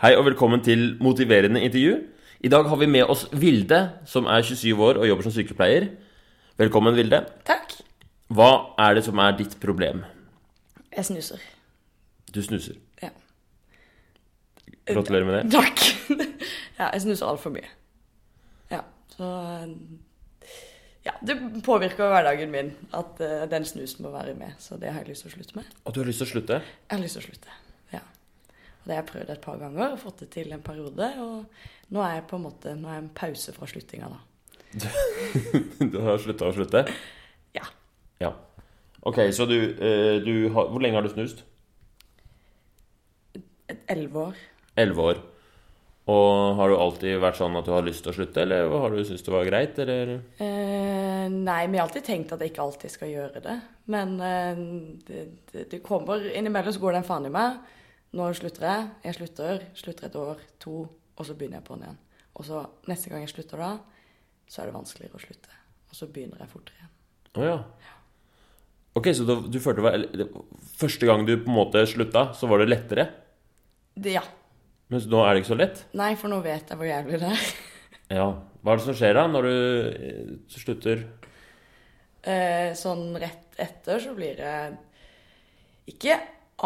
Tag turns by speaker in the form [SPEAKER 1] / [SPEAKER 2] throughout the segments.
[SPEAKER 1] Hei og velkommen til Motiverende intervju. I dag har vi med oss Vilde, som er 27 år og jobber som sykepleier. Velkommen, Vilde.
[SPEAKER 2] Takk.
[SPEAKER 1] Hva er det som er ditt problem?
[SPEAKER 2] Jeg snuser.
[SPEAKER 1] Du snuser.
[SPEAKER 2] Ja.
[SPEAKER 1] Gratulerer med det.
[SPEAKER 2] Takk. ja, jeg snuser altfor mye. Ja, så Ja, det påvirker hverdagen min at eh, den snusen må være med, så det har jeg lyst til å slutte med.
[SPEAKER 1] Og du har lyst til å slutte?
[SPEAKER 2] Jeg har lyst til å slutte, ja. Og det har jeg prøvd et par ganger, og fått det til en periode, og nå er jeg på en måte Nå er jeg en pause fra sluttinga, da.
[SPEAKER 1] Du har slutta å slutte?
[SPEAKER 2] Ja.
[SPEAKER 1] Ja. Ok, så du, eh, du har Hvor lenge har du snust?
[SPEAKER 2] Et Elleve år.
[SPEAKER 1] Elleve år. Og har du alltid vært sånn at du har lyst til å slutte, eller har du syntes det var greit, eller
[SPEAKER 2] Eh, nei, vi har alltid tenkt at jeg ikke alltid skal gjøre det. Men eh, det, det, det kommer innimellom så går det en faen i meg. Nå slutter jeg. Jeg slutter. Slutter et år, to, og så begynner jeg på den igjen. Og så neste gang jeg slutter da, så er det vanskeligere å slutte. Og så begynner jeg fortere igjen.
[SPEAKER 1] Å ja. Ok, så du, du følte det var eller, Første gang du på en måte slutta, så var det lettere?
[SPEAKER 2] Det, ja.
[SPEAKER 1] Mens nå er det ikke så lett?
[SPEAKER 2] Nei, for nå vet jeg hvor jævlig det er.
[SPEAKER 1] Ja. Hva er det som skjer da, når du eh, slutter?
[SPEAKER 2] Eh, sånn rett etter så blir jeg ikke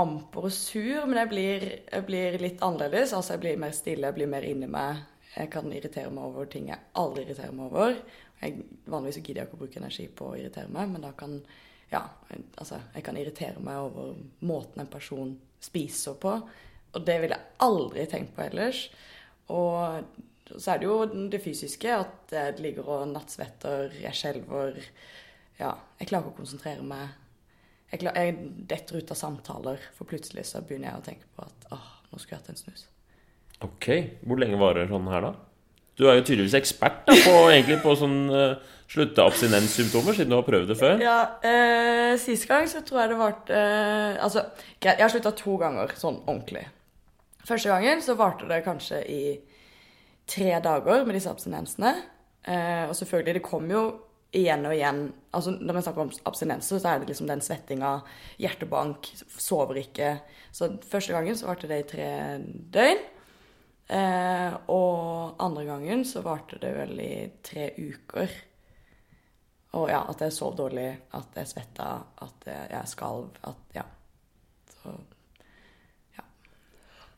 [SPEAKER 2] amper og sur, men jeg blir, jeg blir litt annerledes. Altså jeg blir mer stille, jeg blir mer inni meg. Jeg kan irritere meg over ting jeg aldri irriterer meg over. Jeg, vanligvis så gidder jeg ikke å bruke energi på å irritere meg, men da kan ja, altså, jeg kan irritere meg over måten en person spiser på. Og det ville jeg aldri tenkt på ellers. Og så er det jo det fysiske, at jeg ligger og nattsvetter, jeg skjelver. Ja, jeg klarer ikke å konsentrere meg. Jeg, klar, jeg detter ut av samtaler, for plutselig så begynner jeg å tenke på at åh, nå skulle jeg hatt en snus.
[SPEAKER 1] Ok, hvor lenge varer sånn her da? Du er jo tydeligvis ekspert da, på, egentlig, på sånn eh, slutteabstinenssymptomer, siden du har prøvd det før.
[SPEAKER 2] Ja, eh, sist gang så tror jeg det varte eh, Altså, greit, jeg har slutta to ganger, sånn ordentlig. Første gangen så varte det kanskje i tre dager med disse abstinensene. Eh, og selvfølgelig, det kom jo igjen og igjen. Altså, når vi snakker om abstinenser, så er det liksom den svettinga, hjertebank, sover ikke. Så første gangen så varte det i tre døgn. Eh, og andre gangen så varte det vel i tre uker. Og ja, at jeg sov dårlig, at jeg svetta, at jeg, jeg skalv, at ja. Så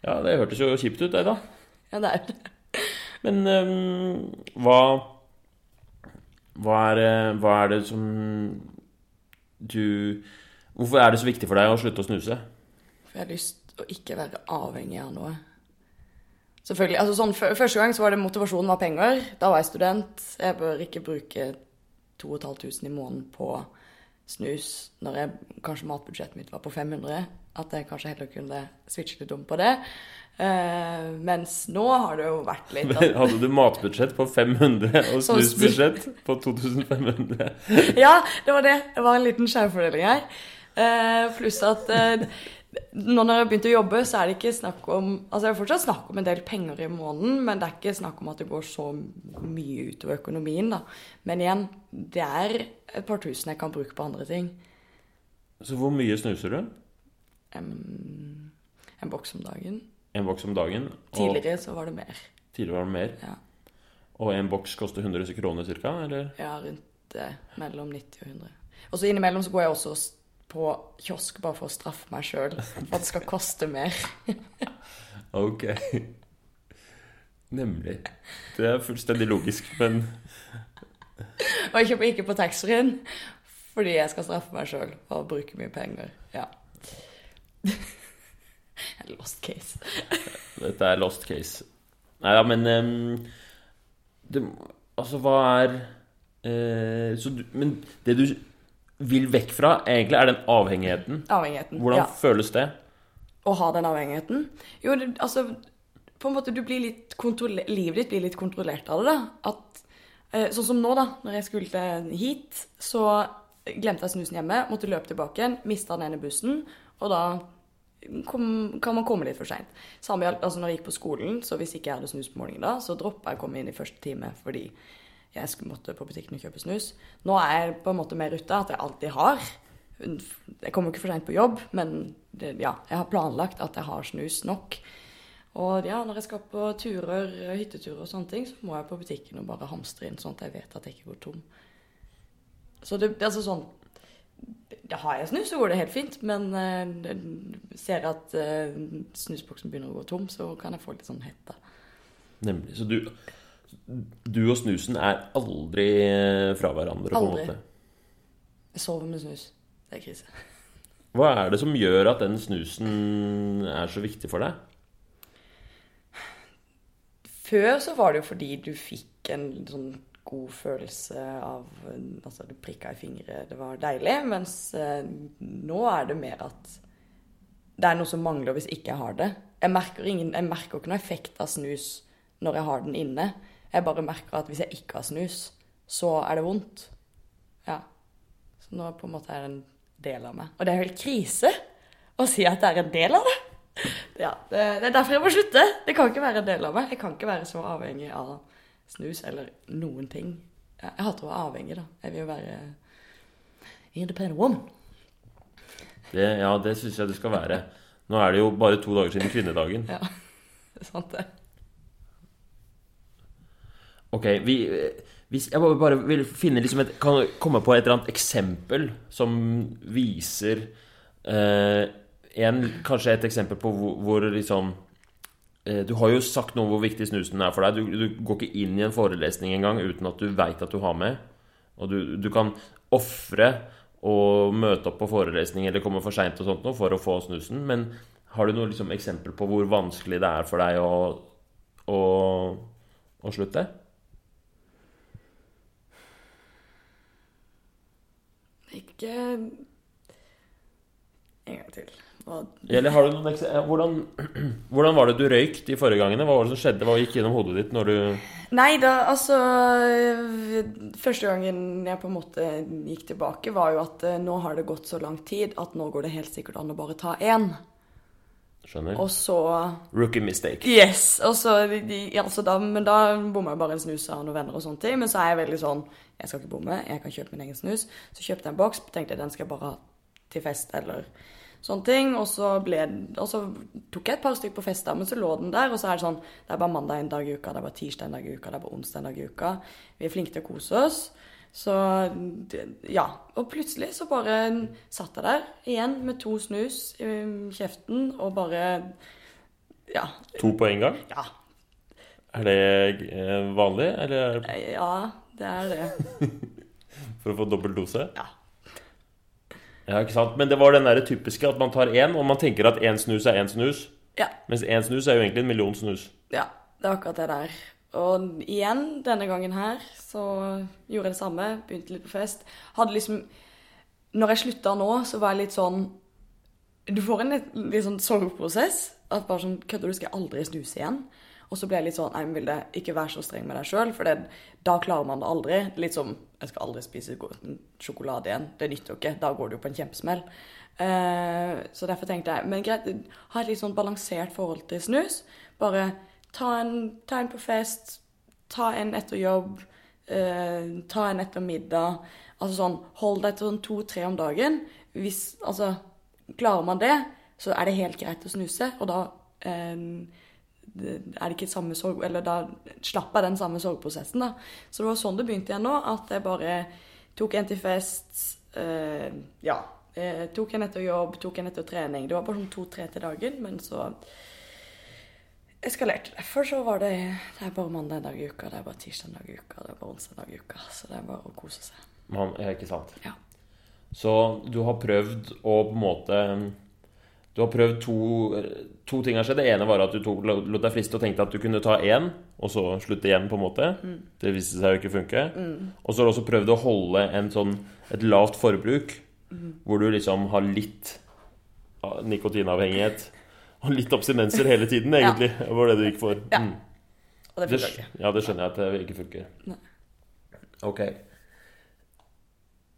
[SPEAKER 1] Ja, det hørtes jo kjipt ut, det da.
[SPEAKER 2] ja, det er jo det.
[SPEAKER 1] Men eh, hva, hva, er, eh, hva er det som du Hvorfor er det så viktig for deg å slutte å snuse?
[SPEAKER 2] For jeg har lyst å ikke være avhengig av noe. Selvfølgelig. altså sånn, fø- Første gang så var det motivasjonen var penger. Da var jeg student. Jeg bør ikke bruke 2500 i måneden på snus når jeg, kanskje matbudsjettet mitt var på 500. At jeg kanskje heller kunne switche litt om på det. Eh, mens nå har det jo vært litt at-
[SPEAKER 1] Hadde du matbudsjett på 500 og
[SPEAKER 2] Som
[SPEAKER 1] snusbudsjett på 2500?
[SPEAKER 2] Ja, det var det. Det var en liten skjevfordeling her. Eh, pluss at eh, nå når jeg har begynt å jobbe, så er det ikke snakk om Altså, det er fortsatt snakk om en del penger i måneden, men det er ikke snakk om at det går så mye utover økonomien, da. Men igjen, det er et par tusen jeg kan bruke på andre ting.
[SPEAKER 1] Så hvor mye snuser du?
[SPEAKER 2] Em, en boks om dagen.
[SPEAKER 1] En boks om dagen? og-
[SPEAKER 2] Tidligere så var det mer.
[SPEAKER 1] Tidligere var det mer.
[SPEAKER 2] Ja.
[SPEAKER 1] Og en boks koster 100 kroner ca.? Eller?
[SPEAKER 2] Ja, rundt eh, mellom 90 og 100. Og så innimellom så går jeg også s- på kiosk bare for å straffe meg sjøl, for at det skal koste mer.
[SPEAKER 1] Ok. Nemlig. Det er fullstendig logisk, men
[SPEAKER 2] Og jeg kjøper ikke på taxfree-en fordi jeg skal straffe meg sjøl for å bruke mye penger. Ja. En Lost case.
[SPEAKER 1] dette er lost case. Nei da, men ehm, det, Altså, hva er eh, så du, Men det du vil vekk fra, egentlig, er den avhengigheten.
[SPEAKER 2] Avhengigheten.
[SPEAKER 1] Hvordan
[SPEAKER 2] Ja.
[SPEAKER 1] føles det?
[SPEAKER 2] Å ha den avhengigheten. Jo, det, altså På en måte, du blir litt kontrolle- livet ditt blir litt kontrollert av det, da. At, eh, sånn som nå, da. Når jeg skulle hit, så glemte jeg snusen hjemme. Måtte løpe tilbake igjen. Mista den ene bussen. Og da kom, kan man komme litt for seint. Samme gjaldt altså når jeg gikk på skolen, så hvis ikke jeg hadde snus på morgenen da, så droppa jeg å komme inn i første time fordi jeg skulle- måtte på butikken og kjøpe snus. Nå er jeg på en måte mer ute, at jeg alltid har. Jeg kommer jo ikke for seint på jobb, men det, ja, jeg har planlagt at jeg har snus nok. Og ja, når jeg skal på turer, hytteturer og sånne ting, så må jeg på butikken og bare hamstre inn, sånn at jeg vet at jeg ikke går tom. Så det, altså sånn da Har jeg snus, så går det helt fint, men eh, ser jeg at eh, snusboksen begynner å gå tom, så kan jeg få litt sånn hetta.
[SPEAKER 1] Nemlig. Så du, du og snusen er aldri eh, fra hverandre, på en
[SPEAKER 2] Aldri.
[SPEAKER 1] måte.
[SPEAKER 2] Jeg sover med snus. Det er krise.
[SPEAKER 1] Hva er det som gjør at den snusen er så viktig for deg?
[SPEAKER 2] Før så var det jo fordi du fikk en sånn god følelse av Altså, du prikka i fingre, det var deilig. Mens eh, nå er det mer at det er noe som mangler hvis ikke jeg har det. Jeg merker, ingen, jeg merker ikke noe effekt av snus når jeg har den inne. Jeg bare merker at hvis jeg ikke har snus, så er det vondt. Ja. Så nå på en måte er det en del av meg. Og det er jo helt krise å si at det er en del av det. Ja, det, det er derfor jeg må slutte. Det kan ikke være en del av meg. Jeg kan ikke være så avhengig av snus eller noen ting. Ja, Jeg hater å være avhengig, da. Jeg vil jo være independent woman.
[SPEAKER 1] Det, ja, det syns jeg det skal være. Nå er det jo bare to dager siden kvinnedagen.
[SPEAKER 2] Ja, det er sant det.
[SPEAKER 1] Ok, vi, eh, hvis jeg bare- bare vil finne liksom et, Kan komme på et eller annet eksempel som viser eh, en, Kanskje et eksempel på hvor, hvor liksom eh, Du har jo sagt noe om hvor viktig snusen er for deg. Du, du går ikke inn i en forelesning engang uten at du veit at du har med. Og du, du kan ofre å møte opp på forelesning eller komme for seint og sånt noe for å få snusen, men har du noe liksom eksempel på hvor vanskelig det er for deg å, å, å slutte?
[SPEAKER 2] Ikke En gang til. Hva-
[SPEAKER 1] Eller har du noen ekse- eh, hvordan, hvordan var det du røyk de forrige gangene? Hva var det som skjedde? Hva gikk gjennom hodet ditt når du
[SPEAKER 2] Nei da, altså øh, Første gangen jeg på en måte gikk tilbake, var jo at øh, nå har det gått så lang tid at nå går det helt sikkert an å bare ta én.
[SPEAKER 1] Skjønner?
[SPEAKER 2] Og så
[SPEAKER 1] Rookie mistake.
[SPEAKER 2] Yes, og så de, de, altså da, Men da bommer jeg bare en snus av noen venner og sånne ting. Men så er jeg veldig sånn Jeg skal ikke bomme, jeg kan kjøpe min egen snus. Så kjøpte jeg en boks, tenkte jeg den skal jeg bare ha til fest eller sånne ting. Og så, ble, og så tok jeg et par stykker på fest, da, men så lå den der. Og så er det sånn Det er bare mandag en dag i uka, det er bare tirsdag en dag i uka, det er bare onsdag en dag i uka. Vi er flinke til å kose oss. Så det- ja. Og plutselig så bare satt jeg der igjen med to snus i kjeften og bare Ja.
[SPEAKER 1] To på en gang?
[SPEAKER 2] Ja,
[SPEAKER 1] Er det eh, vanlig, eller er det
[SPEAKER 2] Ja, det er det.
[SPEAKER 1] for å få dobbel dose?
[SPEAKER 2] Ja.
[SPEAKER 1] Ja, ikke sant? Men det var den der typiske at man tar én, og man tenker at én snus er én snus.
[SPEAKER 2] Ja,
[SPEAKER 1] Mens én snus er jo egentlig en million snus.
[SPEAKER 2] ja, det er akkurat det der. Og igjen, denne gangen her, så gjorde jeg det samme. Begynte litt på fest. Hadde liksom Når jeg slutta nå, så var jeg litt sånn Du får en litt, litt sånn sorgprosess. At bare sånn Kødder du, skal jeg aldri snuse igjen? Og så ble jeg litt sånn Nei, men Vilde, ikke vær så streng med deg sjøl, for det, da klarer man det aldri. Litt som Jeg skal aldri spise go- sjokolade igjen. Det nytter jo ikke. Da går du jo på en kjempesmell. Eh, så derfor tenkte jeg Men greit, ha et litt sånn balansert forhold til snus. Bare ta en, ta en på fest, ta en etter jobb, eh, ta en etter middag. Altså sånn, hold deg til sånn to-tre om dagen. Hvis, altså, klarer man det, så er det helt greit å snuse, og da eh, det- er det ikke samme sorg, eller da slapp jeg den samme sorgprosessen da. Så det var sånn det begynte igjen nå, at jeg bare tok en til fest, eh, ja, eh, tok en etter jobb, tok en etter trening. Det var bare sånn to-tre til dagen, men så eskalerte det. Før så var det det er bare mandag en dag i uka, det er bare tirsdag en dag i uka, det er bare onsdag en dag i uka. Så det er bare å kose seg.
[SPEAKER 1] Man, ja, ikke sant?
[SPEAKER 2] Ja.
[SPEAKER 1] Så du har prøvd å på en måte Du har prøvd to, to ting har skjedd. Det ene var at du tok, lot deg friste og tenkte at du kunne ta én, og så slutte igjen, på en måte.
[SPEAKER 2] Mm.
[SPEAKER 1] Det viste seg jo ikke funke. Og så har du også prøvd å holde en sånn, et lavt forbruk,
[SPEAKER 2] Mm.
[SPEAKER 1] hvor du liksom har litt av nikotinavhengighet og litt abstinenser hele tiden, egentlig. Det var det du gikk for.
[SPEAKER 2] Ja.
[SPEAKER 1] Mm.
[SPEAKER 2] Og det
[SPEAKER 1] Det,
[SPEAKER 2] funker ikke.
[SPEAKER 1] ja, det skjønner jeg at det ikke funker.
[SPEAKER 2] Nei.
[SPEAKER 1] Ok.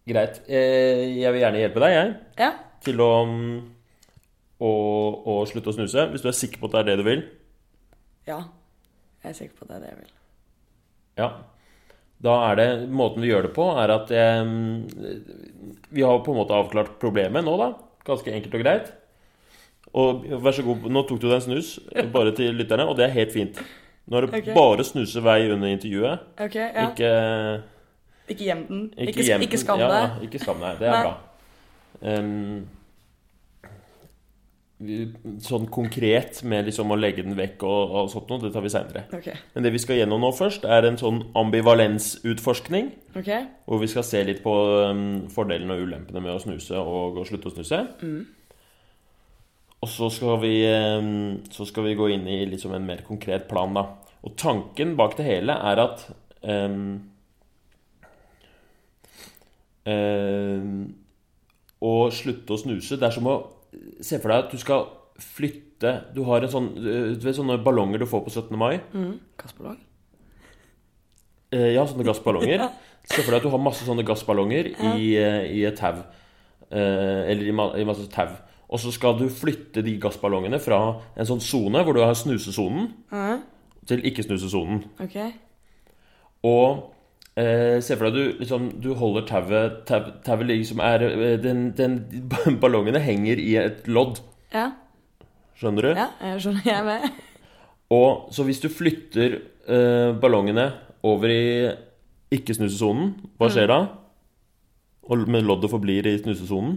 [SPEAKER 1] Greit. Eh, Jeg vil gjerne hjelpe deg, jeg,
[SPEAKER 2] Ja.
[SPEAKER 1] til å, mm, å, å slutte å snuse. Hvis du er sikker på at det er det du vil.
[SPEAKER 2] ja. Jeg er sikker på at det er det jeg vil.
[SPEAKER 1] Ja. Da er det Måten vi gjør det på, er at eh, mm, Vi har på en måte avklart problemet nå, da. Ganske enkelt og greit. Og vær så god, nå tok du deg en snus, bare til lytterne, og det er helt fint. Nå er det
[SPEAKER 2] Ok.
[SPEAKER 1] bare snuse vei under intervjuet.
[SPEAKER 2] Ok, ja. Ikke,
[SPEAKER 1] Ikke,
[SPEAKER 2] gjem den. Ikke,
[SPEAKER 1] ikke, hjem-
[SPEAKER 2] ikke skam
[SPEAKER 1] ja,
[SPEAKER 2] deg.
[SPEAKER 1] ja, ikke skam deg. Det er
[SPEAKER 2] Nei.
[SPEAKER 1] bra. Ehm, vi- sånn konkret med liksom å legge den vekk og, og sånt noe, det tar vi seinere.
[SPEAKER 2] Ok.
[SPEAKER 1] Men det vi skal gjennom nå først, er en sånn ambivalensutforskning.
[SPEAKER 2] ok.
[SPEAKER 1] Hvor vi skal se litt på um, fordelene og ulempene med å snuse og å slutte å snuse. Og så skal, vi, um, så skal vi gå inn i liksom en mer konkret plan, da. Og tanken bak det hele er at um, um, Å slutte å snuse Det er som å se for deg at du skal flytte Du har en sånn, uh, du vet, sånne ballonger du får på 17. mai.
[SPEAKER 2] Mm. Kasperlong?
[SPEAKER 1] Eh, ja, sånne gassballonger. Se for deg at du har masse sånne gassballonger i, eh, i et tau. Eh, eller i, ma i masse tau. Og så skal du flytte de gassballongene fra en sånn sone hvor du har snusesonen,
[SPEAKER 2] Mhm.
[SPEAKER 1] til ikke-snusesonen.
[SPEAKER 2] Ok.
[SPEAKER 1] Og eh, se for deg at du, liksom, du holder tauet tau- Tauet liksom er eh, den, den, Ballongene henger i et lodd.
[SPEAKER 2] Ja.
[SPEAKER 1] Skjønner du?
[SPEAKER 2] ja, jeg skjønner jeg er med.
[SPEAKER 1] Og så hvis du flytter eh, ballongene over i ikke-snusesonen,
[SPEAKER 2] Mm.
[SPEAKER 1] hva skjer da? Og med loddet forblir i snusesonen?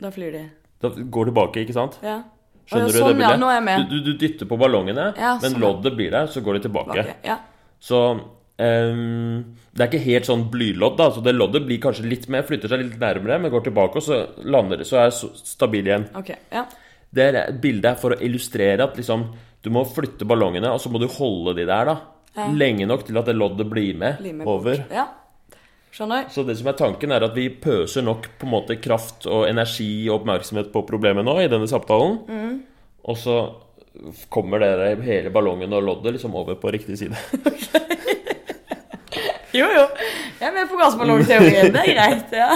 [SPEAKER 2] Da flyr de.
[SPEAKER 1] Da går det tilbake, ikke sant?
[SPEAKER 2] Ja. Å, ja,
[SPEAKER 1] Skjønner
[SPEAKER 2] sånn,
[SPEAKER 1] du det bildet?
[SPEAKER 2] Ja, nå er jeg med.
[SPEAKER 1] Du, du, du dytter på ballongene,
[SPEAKER 2] Ja,
[SPEAKER 1] men
[SPEAKER 2] sånn.
[SPEAKER 1] loddet blir der, så går det tilbake.
[SPEAKER 2] Tilbake. Ja.
[SPEAKER 1] Så ehm, det er ikke helt sånn blylodd, da. Så det loddet blir kanskje litt mer, flytter seg litt nærmere, men går tilbake, og så lander det, så er det så- stabil igjen.
[SPEAKER 2] Ok. Ja.
[SPEAKER 1] Det er bildet er for å illustrere at liksom, du må flytte ballongene, og så må du holde de der da. Lenge nok til at det loddet blir med,
[SPEAKER 2] Bli med
[SPEAKER 1] over.
[SPEAKER 2] bort. Ja. Skjønner.
[SPEAKER 1] Så det som er tanken er at vi pøser nok på en måte kraft og energi og oppmerksomhet på problemet nå i denne samtalen.
[SPEAKER 2] Mm.
[SPEAKER 1] Og så kommer dere hele ballongen og loddet liksom over på riktig side.
[SPEAKER 2] Jo, jo. Jeg er med på gassballongteorien. Det er greit. Ja.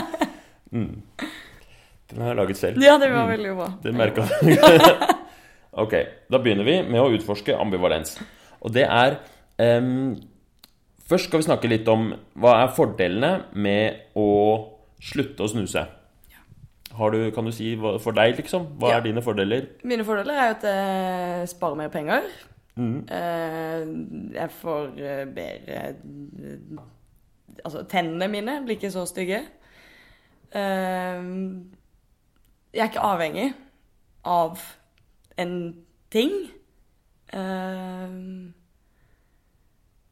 [SPEAKER 1] Den har jeg laget selv.
[SPEAKER 2] ja, det var veldig bra.
[SPEAKER 1] Det merka du. ok, da begynner vi med å utforske ambivalens. Og det er ehm, Først skal vi snakke litt om hva er fordelene med å slutte å snuse. Har du, kan du si hva- for deg, liksom? Hva
[SPEAKER 2] Ja.
[SPEAKER 1] er dine fordeler?
[SPEAKER 2] Mine fordeler er jo at jeg sparer mer penger. Eh, Jeg får eh, bedre Altså, tennene mine blir ikke så stygge. Eh, Jeg er ikke avhengig av en ting. Eh,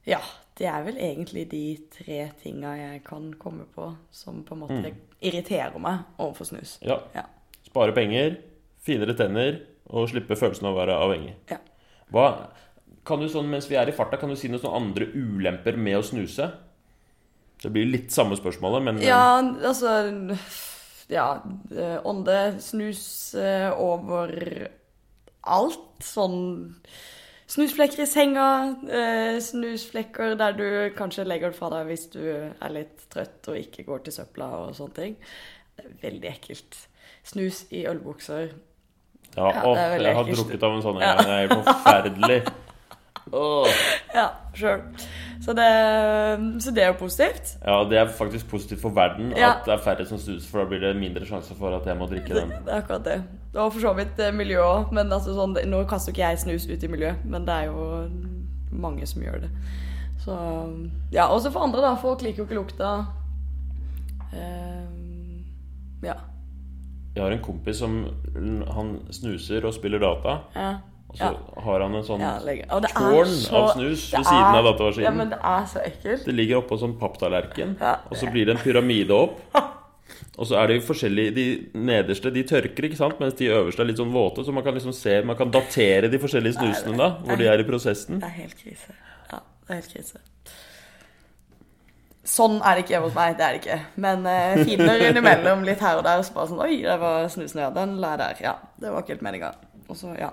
[SPEAKER 2] Ja, det er vel egentlig de tre tinga jeg kan komme på som på en måte irriterer meg overfor snus.
[SPEAKER 1] Ja.
[SPEAKER 2] Ja.
[SPEAKER 1] Spare penger, finere tenner og slippe følelsen av å være avhengig.
[SPEAKER 2] Ja.
[SPEAKER 1] Hva, kan du sånn, mens vi er i farta, kan du si noen sånne andre ulemper med å snuse? Det blir litt samme spørsmålet, men
[SPEAKER 2] Ja, altså Ja. eh, Ånde, snus eh, over alt. Sånn snusflekker i senga, eh, snusflekker der du kanskje legger det fra deg hvis du er litt trøtt og ikke går til søpla og sånne ting. Det er veldig ekkelt. Snus i ølbukser.
[SPEAKER 1] Ja,
[SPEAKER 2] Ja,
[SPEAKER 1] åh,
[SPEAKER 2] det er veldig
[SPEAKER 1] jeg har
[SPEAKER 2] ekkelt.
[SPEAKER 1] drukket av en sånn.
[SPEAKER 2] Ja.
[SPEAKER 1] Ja. Det er helt forferdelig. Åh.
[SPEAKER 2] Ja, sjøl. Så, det- så det er jo positivt.
[SPEAKER 1] Ja, det er faktisk positivt for verden
[SPEAKER 2] Ja.
[SPEAKER 1] at det er færre som snuser, for da blir det mindre sjanse for at jeg må drikke den.
[SPEAKER 2] Det er akkurat det. Det var for så vidt eh, miljø òg, men altså sånn, det- nå kaster jo ikke jeg snus ut i miljøet, men det er jo mange som gjør det. Så Ja, også for andre, da. Folk liker jo ikke lukta. Eh, ja.
[SPEAKER 1] Jeg har en kompis som han snuser og spiller data,
[SPEAKER 2] ja.
[SPEAKER 1] og så har han en sånn
[SPEAKER 2] ja legge. Og det er
[SPEAKER 1] tårn
[SPEAKER 2] så-
[SPEAKER 1] av snus
[SPEAKER 2] det
[SPEAKER 1] ved siden
[SPEAKER 2] er-
[SPEAKER 1] av datamaskinen.
[SPEAKER 2] Ja, men det er så ekkelt.
[SPEAKER 1] Det ligger oppå en sånn papptallerken,
[SPEAKER 2] Ja.
[SPEAKER 1] og så blir det en pyramide opp. Og så er det jo forskjellige De nederste de tørker, ikke sant? mens de øverste er litt sånn våte. Så man kan liksom se Man kan datere de forskjellige snusene da, hvor de er i prosessen.
[SPEAKER 2] Det er helt krise. Ja, det er helt krise. Sånn er det ikke hjemme hos meg, det er det ikke. Men eh, finner innimellom litt her og der, så bare sånn Oi, det var snusen, ja. Den la jeg der. Ja, det var ikke helt meninga. Og så, ja.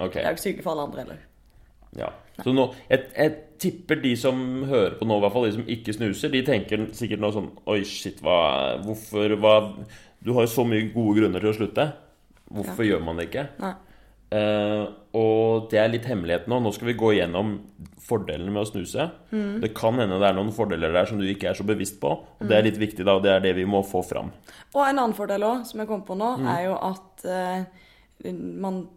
[SPEAKER 1] Ok,
[SPEAKER 2] Det er jo ikke så hyggelig for alle andre heller.
[SPEAKER 1] ja Så nå jeg, jeg tipper de som hører på nå, i hvert fall de som ikke snuser, de tenker sikkert nå sånn Oi, shit, hva Hvorfor hva, Du har jo så mye gode grunner til å slutte. Hvorfor gjør man det ikke?
[SPEAKER 2] Nei.
[SPEAKER 1] Eh, og det er litt hemmelighet nå. Nå skal vi gå gjennom fordelene med å snuse. Det kan hende det er noen fordeler der som du ikke er så bevisst på. Og det er litt viktig, da. Og det er det vi må få fram.
[SPEAKER 2] Og en annen fordel òg, som jeg kom på nå, er jo at eh, man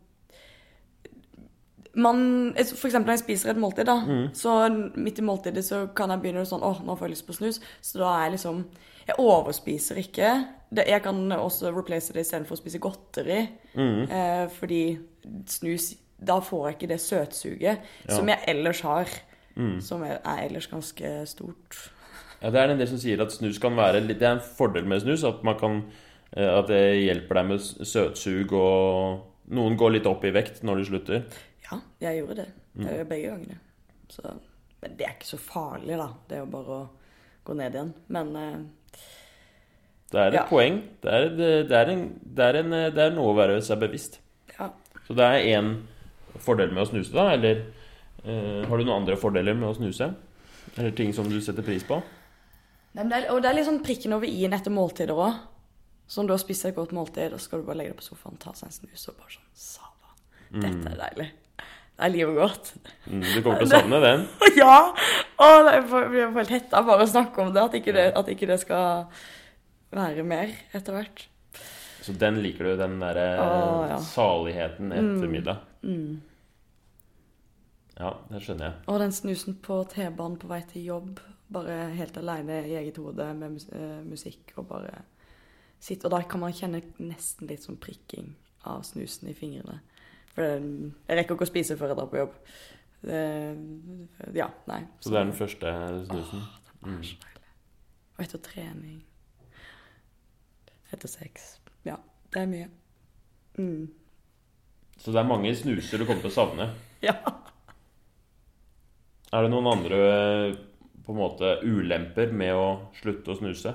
[SPEAKER 2] man, for eksempel når jeg spiser et måltid, da, så midt i måltidet så kan jeg begynne sånn åh, nå får jeg lyst på snus. Så da er jeg liksom Jeg overspiser ikke. Det, jeg kan også replace det istedenfor å spise godteri. Eh, fordi snus Da får jeg ikke det søtsuget som jeg ellers har. Som er er ellers ganske stort.
[SPEAKER 1] Ja, det er en del som sier at snus kan være litt- Det er en fordel med snus. At, man kan, eh, at det hjelper deg med s- søtsug og Noen går litt opp i vekt når de slutter.
[SPEAKER 2] Ja, jeg gjorde det. Jeg gjorde begge gangene. Så, men det er ikke så farlig, da. Det er jo bare å gå ned igjen. Men eh,
[SPEAKER 1] Det er et
[SPEAKER 2] Ja.
[SPEAKER 1] poeng. Det er, det, det, er en, det, er en, eh, det er noe å være seg bevisst.
[SPEAKER 2] ja.
[SPEAKER 1] Så det er én fordel med å snuse, da. Eller eh, har du noen andre fordeler med å snuse? Eller ting som du setter pris på?
[SPEAKER 2] Nei, men det er, og det er litt sånn prikken over i-en etter måltider òg. Som du har spist et godt måltid, og så skal du bare legge deg på sofaen, ta seg en snus og bare sånn Sava. Dette er deilig. Det er livet godt.
[SPEAKER 1] Mm, du kommer til å savne den.
[SPEAKER 2] ja! Å, det er- jeg blir helt hetta bare å snakke om det. At ikke det, at ikke det skal være mer etter hvert.
[SPEAKER 1] Så den liker du, den derre
[SPEAKER 2] Å, ja. Mm.
[SPEAKER 1] saligheten etter middag. Ja, det skjønner jeg.
[SPEAKER 2] Og den snusen på T-banen på vei til jobb, bare helt aleine i eget hode med mus eh, musikk og bare sitte. Og da kan man kjenne nesten litt sånn prikking av snusen i fingrene. For den, jeg rekker ikke å spise før jeg drar på jobb. Eh, ja, nei.
[SPEAKER 1] Så det er den første snusen. Mm.
[SPEAKER 2] den er så deilig. Og etter trening. Etter sex. Ja, det er mye. Mm.
[SPEAKER 1] Så det er mange snuser du kommer til å savne.
[SPEAKER 2] Ja.
[SPEAKER 1] Er det noen andre eh, på en måte ulemper med å slutte å snuse?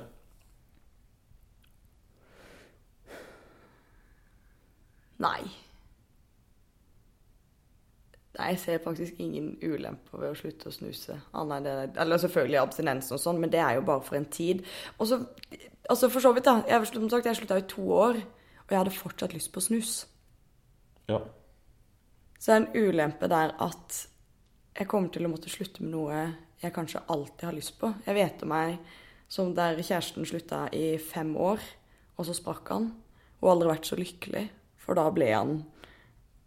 [SPEAKER 2] Nei. Nei, jeg ser faktisk ingen ulemper ved å slutte å snuse. Annet enn det, eller selvfølgelig abstinensen og sånn, men det er jo bare for en tid. Og så, altså for så vidt da, jeg, som sagt, jeg slutta i to år, og jeg hadde fortsatt lyst på snus.
[SPEAKER 1] Ja.
[SPEAKER 2] Så det er en ulempe der at jeg kommer til å måtte slutte med noe jeg kanskje alltid har lyst på. Jeg vet om ei som der kjæresten slutta i fem år, og så sprakk han. Og aldri vært så lykkelig, for da ble han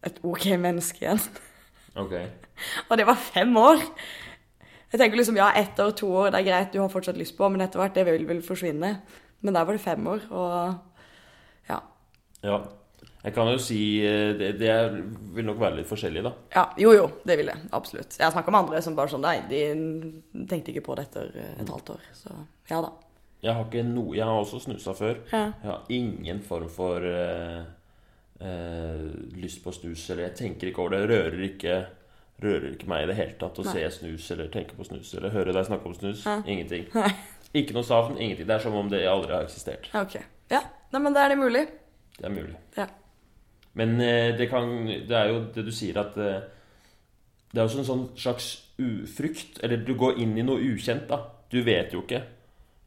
[SPEAKER 2] et OK menneske igjen.
[SPEAKER 1] Ok.
[SPEAKER 2] Og det var fem år! Jeg tenker liksom, ja, ett år, to år, det er greit, du har fortsatt lyst på, men etter hvert, det vil vel forsvinne. Men der var det fem år, og ja.
[SPEAKER 1] Ja. Jeg kan jo si eh, Det, det er, vil nok være litt forskjellig, da.
[SPEAKER 2] Ja, jo jo, det vil jeg. Absolutt. Jeg snakker om andre som bare sånn Nei, de tenkte ikke på det etter eh, et halvt år. Så ja da.
[SPEAKER 1] Jeg har, ikke no, jeg har også snusa før.
[SPEAKER 2] Ja.
[SPEAKER 1] Jeg har ingen form for eh, eh, lyst på snus. Eller jeg tenker ikke over det. Rører ikke, rører ikke meg i det hele tatt å se snus eller tenke på snus eller høre deg snakke om snus. Ingenting. Ikke noe savn. Ingenting. Det er som om det aldri har eksistert.
[SPEAKER 2] Ja, Ok. Ja. Nei, men da er det mulig.
[SPEAKER 1] Det er mulig.
[SPEAKER 2] Ja.
[SPEAKER 1] Men eh, det, kan, det er jo det du sier at eh, Det er også en sånn slags ufrykt. Eller du går inn i noe ukjent, da. Du vet jo ikke.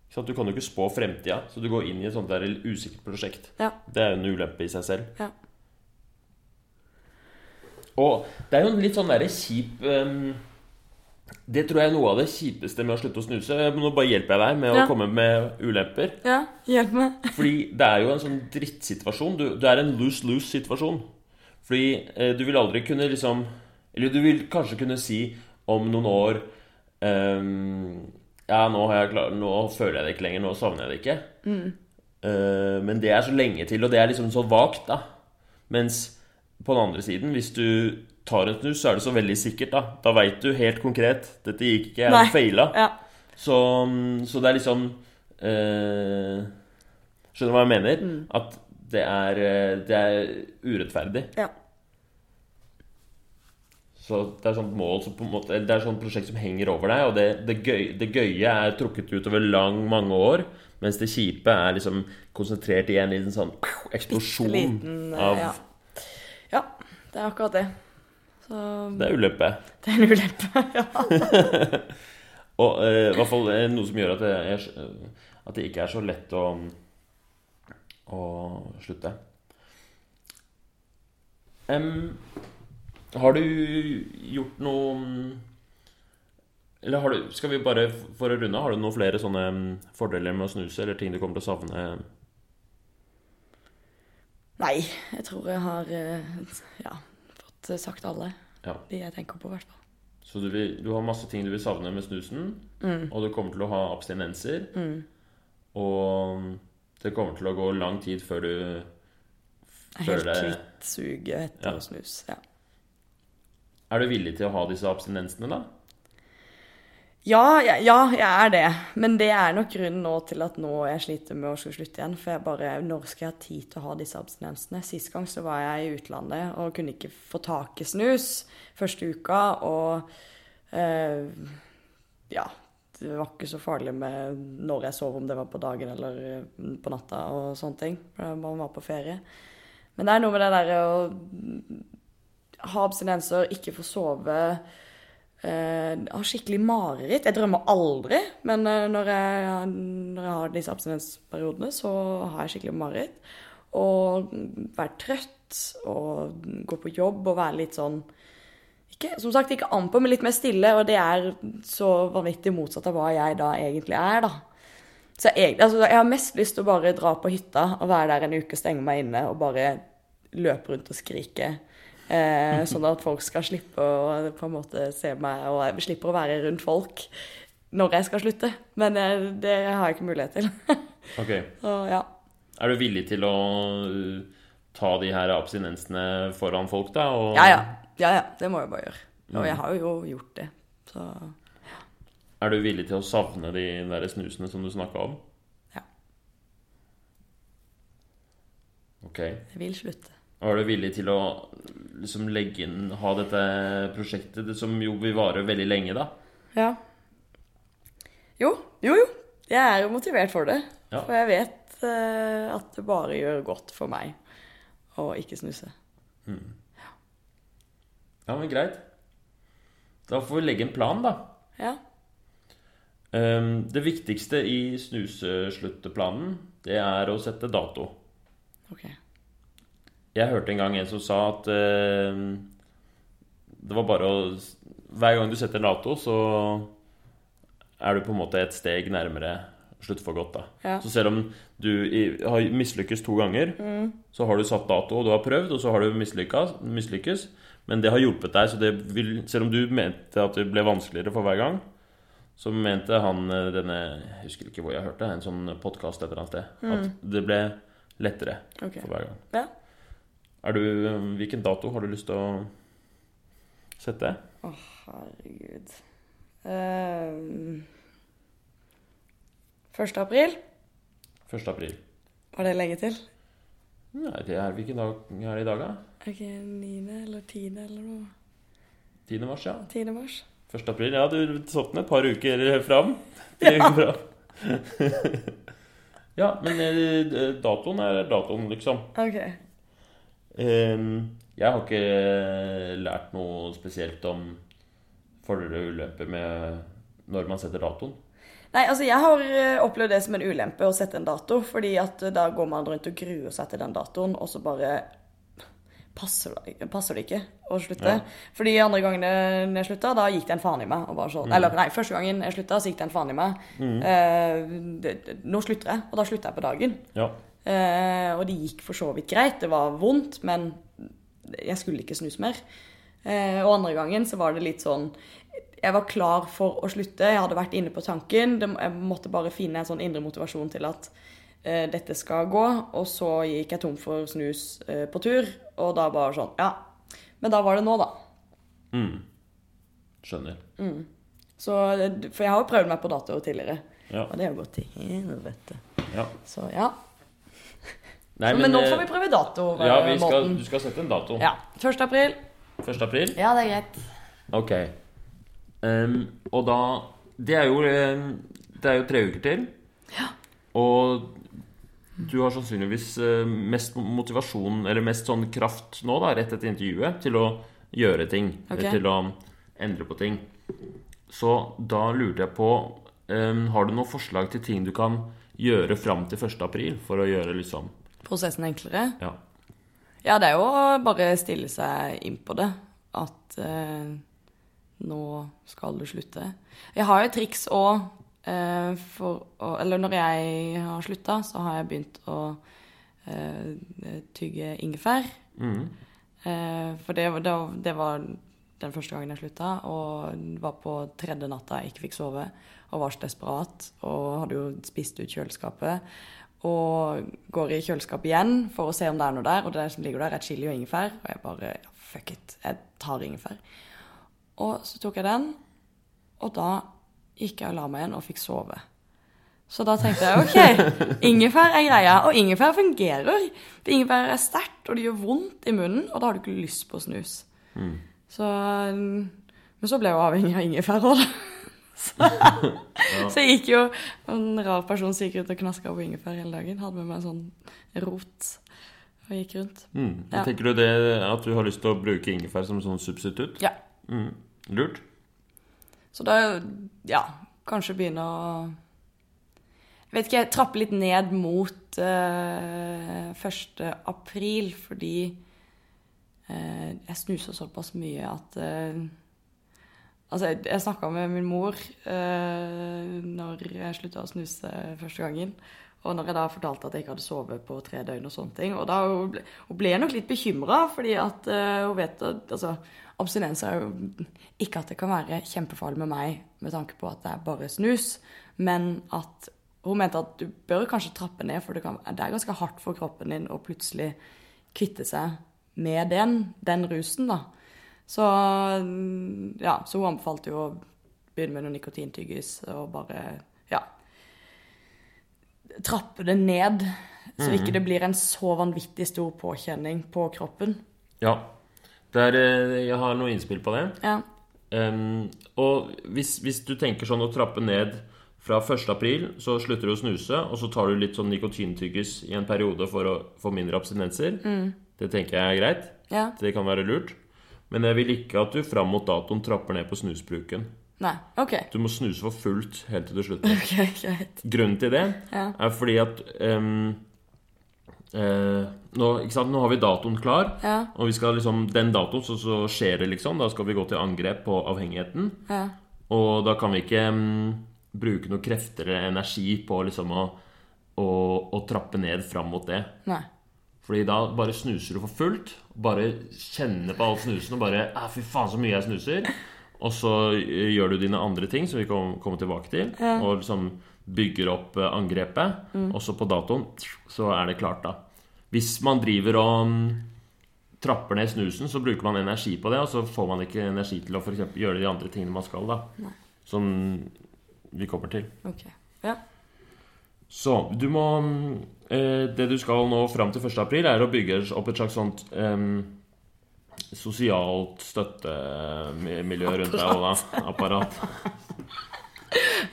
[SPEAKER 1] Ikke sant? Du kan jo ikke spå fremtida, så du går inn i et sånt der usikkert prosjekt.
[SPEAKER 2] Ja.
[SPEAKER 1] Det er jo en ulempe i seg selv.
[SPEAKER 2] Ja.
[SPEAKER 1] Og det er jo en litt sånn derre kjip ehm, Det tror jeg er noe av det kjipeste med å slutte å snuse. Eh, Nå bare hjelper jeg deg med å
[SPEAKER 2] Ja.
[SPEAKER 1] komme med ulemper.
[SPEAKER 2] ja. Hjelp meg.
[SPEAKER 1] Fordi det er jo en sånn drittsituasjon. Du, det er en lose-lose-situasjon. Fordi eh, du vil aldri kunne liksom Eller du vil kanskje kunne si om noen år ehm, Ja, nå, har jeg klar, nå føler jeg det ikke lenger. Nå savner jeg det ikke. Eh, men det er så lenge til, og det er liksom så vagt, da. Mens på den andre siden, hvis du tar en snus, så er det så veldig sikkert, da. Da veit du helt konkret. Dette gikk ikke,
[SPEAKER 2] Nei.
[SPEAKER 1] jeg feila.
[SPEAKER 2] Ja.
[SPEAKER 1] Så, så det er liksom eh, Skjønner du hva jeg mener?
[SPEAKER 2] Mm.
[SPEAKER 1] At det er, eh, det er urettferdig.
[SPEAKER 2] ja.
[SPEAKER 1] Så det er sånt mål som på en måte Det er sånt prosjekt som henger over deg, og det, det, gøy, det gøye er trukket ut over lang, mange år, mens det kjipe er liksom konsentrert i en liten sånn eksplosjon
[SPEAKER 2] Bitteliten, eh,
[SPEAKER 1] av
[SPEAKER 2] ja. Ja. Det er akkurat det. Så
[SPEAKER 1] Det er ulempe.
[SPEAKER 2] det er en ulempe. ja.
[SPEAKER 1] Og eh, i hvert fall eh, noe som gjør at det, er, at det ikke er så lett å, å slutte. Em, har du gjort noe Eller har du, skal vi bare for å runde, har du noen flere sånne em, fordeler med å snuse, eller ting du kommer til å savne?
[SPEAKER 2] Nei, jeg tror jeg har eh, ja, fått eh, sagt alle.
[SPEAKER 1] Ja.
[SPEAKER 2] De jeg tenker på, i hvert fall.
[SPEAKER 1] Så du, vil, du har masse ting du vil savne med snusen, og du kommer til å ha abstinenser. Og det kommer til å gå lang tid før du
[SPEAKER 2] Jeg er
[SPEAKER 1] Føler
[SPEAKER 2] helt
[SPEAKER 1] det-
[SPEAKER 2] kvitt suget etter
[SPEAKER 1] Ja.
[SPEAKER 2] å snus. Ja.
[SPEAKER 1] Er du villig til å ha disse abstinensene, da?
[SPEAKER 2] Ja, ja, ja, jeg er det. Men det er nok grunnen nå til at nå jeg sliter med å skulle slutte igjen. For jeg bare Når skal jeg ha tid til å ha disse abstinensene? Sist gang så var jeg i utlandet og kunne ikke få tak i snus første uka. Og eh, ja Det var ikke så farlig med når jeg sov, om det var på dagen eller eh, på natta og sånne ting. For man var på ferie. Men det er noe med det derre å ha abstinenser, ikke få sove. Eh, har skikkelig mareritt. Jeg drømmer aldri, men eh, når, jeg, når jeg har disse abstinensperiodene, så har jeg skikkelig mareritt. Og være trøtt, og gå på jobb og være litt sånn ikke, Som sagt, ikke an på, men litt mer stille, og det er så vanvittig motsatt av hva jeg da egentlig er, da. Så jeg, egentlig- altså, jeg har mest lyst til å bare dra på hytta og være der en uke, stenge meg inne og bare løpe rundt og skrike. Eh, sånn at folk skal slippe å på en måte se meg, og jeg slipper å være rundt folk når jeg skal slutte. Men eh, det har jeg ikke mulighet til.
[SPEAKER 1] Ok.
[SPEAKER 2] Så ja.
[SPEAKER 1] Er du villig til å øh, ta de her abstinensene foran folk, da? Og,
[SPEAKER 2] Ja, ja. ja, ja. Det må jeg bare gjøre. Og jeg har jo gjort det. Så
[SPEAKER 1] Er du villig til å savne de der snusene som du snakka om?
[SPEAKER 2] Ja.
[SPEAKER 1] Ok.
[SPEAKER 2] jeg vil slutte.
[SPEAKER 1] Og er du villig til å liksom legge inn Ha dette prosjektet, det som jo vil vare veldig lenge, da?
[SPEAKER 2] Ja. Jo, jo, jo. Jeg er jo motivert for det.
[SPEAKER 1] Ja.
[SPEAKER 2] For jeg vet eh, at det bare gjør godt for meg å ikke snuse.
[SPEAKER 1] Ja, men greit. Da får vi legge en plan, da.
[SPEAKER 2] Ja.
[SPEAKER 1] Ehm, det viktigste i snusesluttplanen, det er å sette dato.
[SPEAKER 2] OK.
[SPEAKER 1] Jeg hørte en gang en som sa at ehm, det var bare å Hver gang du setter dato, så er du på en måte et steg nærmere slutt for godt, da.
[SPEAKER 2] Ja.
[SPEAKER 1] Så selv om du i, har mislykkes to ganger,
[SPEAKER 2] Mm.
[SPEAKER 1] så har du satt dato, og du har prøvd, og så har du mislykka- mislykkes. Men det har hjulpet deg, så det vil, selv om du mente at det ble vanskeligere for hver gang, så mente han eh, denne Jeg husker ikke hvor jeg hørte, en sånn podkast et eller annet sted, at det ble lettere
[SPEAKER 2] Mm. Ok.
[SPEAKER 1] for hver gang.
[SPEAKER 2] Ja.
[SPEAKER 1] Er du, hvilken dato har du lyst til å sette?
[SPEAKER 2] Å, herregud. Ehm, 1. april?
[SPEAKER 1] 1. april.
[SPEAKER 2] Var det lenge til?
[SPEAKER 1] Nei, det er hvilken dag er det i dag, da?
[SPEAKER 2] Ok, 9. eller 10. eller noe.
[SPEAKER 1] 10. mars, ja.
[SPEAKER 2] 10. mars.
[SPEAKER 1] 1. april. Ja, du satt den et par uker fram. Tre uker fram. ja, men eh, datoen er datoen, liksom.
[SPEAKER 2] Ok.
[SPEAKER 1] Ehm, Jeg har ikke lært noe spesielt om fordeler og ulemper med når man setter datoen.
[SPEAKER 2] Nei, altså jeg har eh, opplevd det som en ulempe å sette en dato, fordi at eh, da går man rundt og gruer seg til den datoen, og så bare passer, det- passer det ikke å slutte.
[SPEAKER 1] Ja.
[SPEAKER 2] Fordi andre gangene jeg slutta, da gikk det en faen i meg. Og bare så, Eller nei, første gangen jeg slutta, så gikk det en faen i meg. Eh, det, det, nå slutter jeg, og da slutter jeg på dagen.
[SPEAKER 1] Ja.
[SPEAKER 2] Eh, og det gikk for så vidt greit. Det var vondt, men jeg skulle ikke snus mer. Eh, og andre gangen så var det litt sånn Jeg var klar for å slutte. Jeg hadde vært inne på tanken. Det, jeg måtte bare finne en sånn indre motivasjon til at eh, dette skal gå. Og så gikk jeg tom for snus eh, på tur, og da bare sånn Ja. Men da var det nå, da.
[SPEAKER 1] Skjønner.
[SPEAKER 2] Så, for jeg har jo prøvd meg på dato tidligere.
[SPEAKER 1] Ja.
[SPEAKER 2] Og det har jo gått til helvete.
[SPEAKER 1] ja.
[SPEAKER 2] Så ja.
[SPEAKER 1] Nei,
[SPEAKER 2] men, nå
[SPEAKER 1] eh,
[SPEAKER 2] får vi prøve dato. eh,
[SPEAKER 1] ja, vi skal,
[SPEAKER 2] måten.
[SPEAKER 1] du skal sette en dato.
[SPEAKER 2] Ja. 1. april.
[SPEAKER 1] 1. april.
[SPEAKER 2] Ja, det er greit.
[SPEAKER 1] Ok. Ehm, og da Det er jo, ehm, det er jo tre uker til. Og du har sannsynligvis ehm, mest motivasjon, eller mest sånn kraft nå, da, rett etter intervjuet, til å gjøre ting.
[SPEAKER 2] Ok.
[SPEAKER 1] eller Til å endre på ting. Så da lurte jeg på ehm, Har du noen forslag til ting du kan gjøre fram til 1. april? For å gjøre liksom
[SPEAKER 2] Prosessen enklere?
[SPEAKER 1] Ja.
[SPEAKER 2] Ja, det er jo å bare stille seg inn på det. At eh, nå skal du slutte. Jeg har jo et triks òg. for å, eller når jeg har slutta, så har jeg begynt å eh, tygge ingefær. Eh, for det, var- det, var- det var den første gangen jeg slutta, og var på tredje natta jeg ikke fikk sove, og var så desperat, og hadde jo spist ut kjøleskapet. Og går i kjøleskapet igjen for å se om det er noe der, og det som ligger der, er chili og ingefær. Og jeg bare ja, fuck it, jeg tar ingefær. Og så tok jeg den, og da gikk jeg og la meg igjen og fikk sove. Så da tenkte jeg ok, ingefær er greia, og ingefær fungerer. For ingefær er sterkt, og det gjør vondt i munnen, og da har du ikke lyst på snus. Så, mm, men så ble jeg jo avhengig av ingefær òg, da. Så, så jeg gikk jo En rar person som gikk rundt og knaska på ingefær hele dagen. Hadde med meg en sånn rot og gikk rundt.
[SPEAKER 1] Mm.
[SPEAKER 2] Ja.
[SPEAKER 1] Tenker du det at du har lyst til å bruke ingefær som sånn substitutt?
[SPEAKER 2] Ja.
[SPEAKER 1] Mm. Lurt.
[SPEAKER 2] Så da, ja, kanskje begynne å Jeg vet ikke, jeg trapper litt ned mot eh, 1. april, fordi eh, jeg snuser såpass mye at eh, Altså, jeg, jeg snakka med min mor eh, når jeg slutta å snuse første gangen. Og når jeg da fortalte at jeg ikke hadde sovet på tre døgn og sånne ting. Og da hun ble hun ble nok litt bekymra, fordi at eh, hun vet at altså, abstinens er jo ikke at det kan være kjempefarlig med meg med tanke på at det er bare snus, men at hun mente at du bør kanskje trappe ned, for det, kan, det er ganske hardt for kroppen din å plutselig kvitte seg med den, den rusen, da. Så mm, ja, så hun anbefalte jo å begynne med noen nikotintyggis og bare ja, trappe det ned, så ikke det blir en så vanvittig stor påkjenning på kroppen.
[SPEAKER 1] Ja. Det er, eh, jeg har noe innspill på det.
[SPEAKER 2] Ja.
[SPEAKER 1] Ehm, og hvis, hvis du tenker sånn å trappe ned fra 1. april, så slutter du å snuse, og så tar du litt sånn nikotintyggis i en periode for å få mindre abstinenser. Det tenker jeg er greit.
[SPEAKER 2] ja.
[SPEAKER 1] Det kan være lurt. Men jeg vil ikke at du fram mot datoen trapper ned på snusbruken.
[SPEAKER 2] Nei. OK.
[SPEAKER 1] Du må snuse for fullt helt til du slutter.
[SPEAKER 2] Ok, Greit.
[SPEAKER 1] Grunnen til det
[SPEAKER 2] Ja.
[SPEAKER 1] er fordi at ehm, eh, nå, ikke sant? nå har vi datoen klar,
[SPEAKER 2] Ja.
[SPEAKER 1] og vi skal liksom, den datoen så, så skjer det, liksom. Da skal vi gå til angrep på avhengigheten.
[SPEAKER 2] Ja.
[SPEAKER 1] Og da kan vi ikke mm, bruke noe krefter eller energi på liksom å, å, å trappe ned fram mot det.
[SPEAKER 2] Nei.
[SPEAKER 1] Fordi da bare snuser du for fullt. Bare kjenner på all snusen og bare «Ah, 'Fy faen, så mye jeg snuser'. Og så eh, gjør du dine andre ting, som vi kom- kommer tilbake til, og liksom bygger opp eh, angrepet. Og så på datoen så er det klart, da. Hvis man driver og mm, trapper ned snusen, så bruker man energi på det, og så får man ikke energi til å for eksempel gjøre de andre tingene man skal, da. Som vi kommer til.
[SPEAKER 2] OK. Ja.
[SPEAKER 1] Så du må mm, eh, Det du skal nå fram til 1. april, er å bygge opp et slags sånt em, sosialt støttemiljø rundt deg og da. Apparat.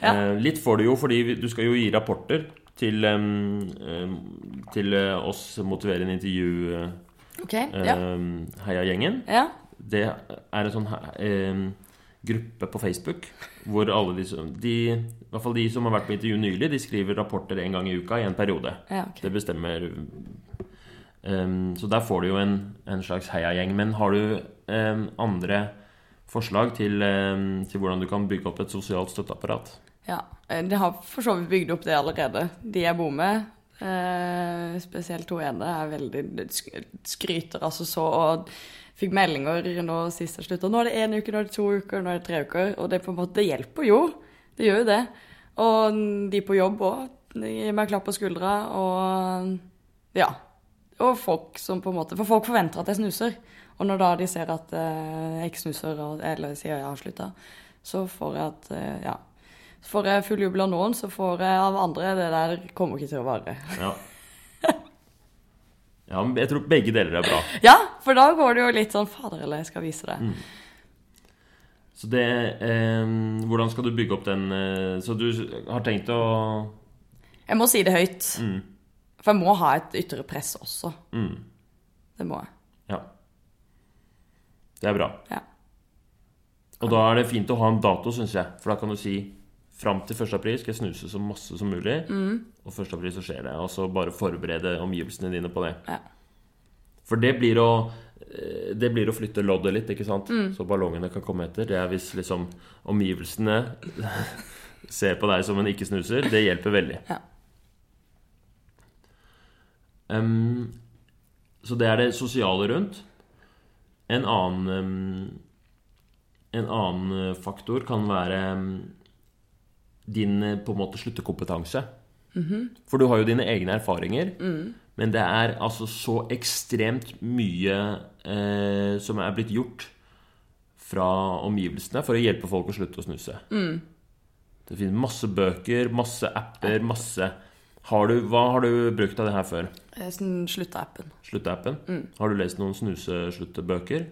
[SPEAKER 1] Eh, litt får du jo, fordi vi- du skal jo gi rapporter til, em, em, til eh, oss motiverende intervju eh,
[SPEAKER 2] OK. Ja.
[SPEAKER 1] em, Heia-gjengen.
[SPEAKER 2] Ja.
[SPEAKER 1] Det er en sånn eh, gruppe på Facebook hvor alle de som de, I hvert fall de som har vært på intervju nylig, de skriver rapporter en gang i uka i en periode.
[SPEAKER 2] ja ok.
[SPEAKER 1] Det bestemmer eh, Så der får du jo en, en slags heiagjeng. Men har du eh, andre forslag til, eh, til hvordan du kan bygge opp et sosialt støtteapparat?
[SPEAKER 2] Ja. Eh, De har for så vidt bygd opp det allerede, de jeg bor med. Eh, spesielt hun ene er veldig sk- skryter altså så og fikk meldinger nå sist jeg slutta. Nå er det én uke, nå er det to uker, nå er det tre uker. Og det, er på en måte, det hjelper jo. Det gjør jo det. Og de på jobb òg. Gir meg klapp på skuldra og Ja. Og folk som på en måte For folk forventer at jeg snuser. Og når da de ser at eh, jeg ikke snuser, og, eller sier jeg har slutta, så får jeg at eh, Ja. Så får jeg full jubel av noen, så får jeg av andre det der kommer ikke til å vare.
[SPEAKER 1] Ja. Ja, men jeg tror begge deler er bra.
[SPEAKER 2] Ja, for da går det jo litt sånn Fader, eller jeg skal vise det.
[SPEAKER 1] Så det eh, Hvordan skal du bygge opp den eh, Så du har tenkt å
[SPEAKER 2] Jeg må si det høyt. For jeg må ha et ytre press også.
[SPEAKER 1] mm,
[SPEAKER 2] Det må jeg.
[SPEAKER 1] Ja. Det er bra.
[SPEAKER 2] Ja.
[SPEAKER 1] Og da er det fint å ha en dato, syns jeg. For da kan du si fram til 1. april skal jeg snuse så masse som mulig.
[SPEAKER 2] Mm.
[SPEAKER 1] Og 1. april så skjer det. Og så bare forberede omgivelsene dine på det.
[SPEAKER 2] Ja.
[SPEAKER 1] For det blir å eh, det blir å flytte loddet litt, ikke sant?
[SPEAKER 2] Mm.
[SPEAKER 1] så ballongene kan komme etter. Det er hvis liksom omgivelsene ser på deg som en ikke-snuser. Det hjelper veldig.
[SPEAKER 2] Ja.
[SPEAKER 1] Em, så det er det sosiale rundt. En annen em, En annen eh, faktor kan være mm, din eh, på en måte sluttekompetanse.
[SPEAKER 2] Mhm.
[SPEAKER 1] For du har jo dine egne erfaringer.
[SPEAKER 2] Mm.
[SPEAKER 1] Men det er altså så ekstremt mye eh, som er blitt gjort fra omgivelsene for å hjelpe folk å slutte å snuse.
[SPEAKER 2] Mm.
[SPEAKER 1] Det finnes masse bøker, masse apper, masse har du, Hva har du brukt av det her før?
[SPEAKER 2] Eh, sånn Slutta-appen.
[SPEAKER 1] Slutte-appen?
[SPEAKER 2] Mm.
[SPEAKER 1] Har du lest noen snusesluttebøker?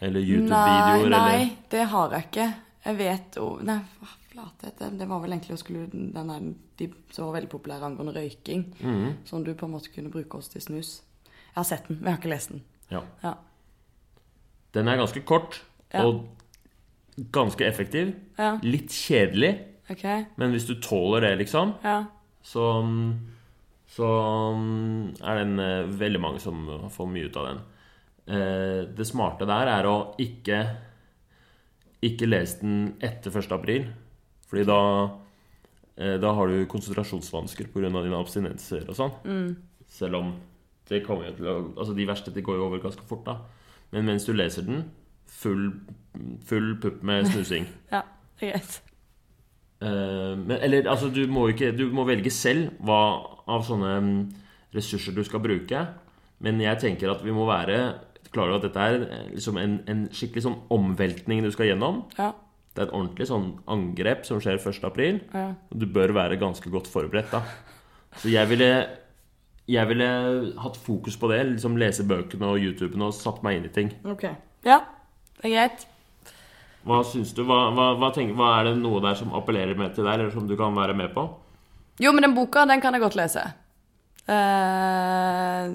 [SPEAKER 1] Eller
[SPEAKER 2] Nei,
[SPEAKER 1] YouTube-videoer?
[SPEAKER 2] nei,
[SPEAKER 1] eller-
[SPEAKER 2] det har jeg ikke. Jeg vet jo Nei, hva flathet det- Det var vel egentlig å skulle den der, de som var veldig populære angående røyking.
[SPEAKER 1] Mm.
[SPEAKER 2] Som du på en måte kunne bruke oss til snus. Jeg har sett den, men jeg har ikke lest den.
[SPEAKER 1] Ja.
[SPEAKER 2] Ja.
[SPEAKER 1] Den er ganske kort
[SPEAKER 2] Ja.
[SPEAKER 1] og ganske effektiv.
[SPEAKER 2] Ja.
[SPEAKER 1] Litt kjedelig,
[SPEAKER 2] Ok?
[SPEAKER 1] men hvis du tåler det, liksom,
[SPEAKER 2] Ja.
[SPEAKER 1] så, så er den eh, veldig mange som får mye ut av den. Eh, Det smarte der er å ikke ikke lese den etter 1. april, fordi da eh, da har du konsentrasjonsvansker pga. dine abstinenser og sånn. Selv om det kommer jo til å, altså de verste de går jo over ganske fort, da. Men mens du leser den, full, full pupp med snusing.
[SPEAKER 2] ja. Det er greit.
[SPEAKER 1] Eh, men, eller altså, du må, ikke, du må velge selv hva av sånne mm, ressurser du skal bruke. Men jeg tenker at vi må være klare over at dette er eh, liksom en, en skikkelig sånn omveltning du skal gjennom.
[SPEAKER 2] Ja.
[SPEAKER 1] Det er et ordentlig sånn angrep som skjer 1.4.
[SPEAKER 2] ja.
[SPEAKER 1] Og du bør være ganske godt forberedt, da. Så jeg ville jeg ville hatt fokus på det. liksom Lese bøkene og YouTuben og satt meg inn i ting.
[SPEAKER 2] Ok. Ja. Det er greit.
[SPEAKER 1] Hva syns du? Hva, hva, hva, tenker, hva er det noe der som appellerer med til deg, eller som du kan være med på?
[SPEAKER 2] Jo, men den boka, den kan jeg godt lese. Eh,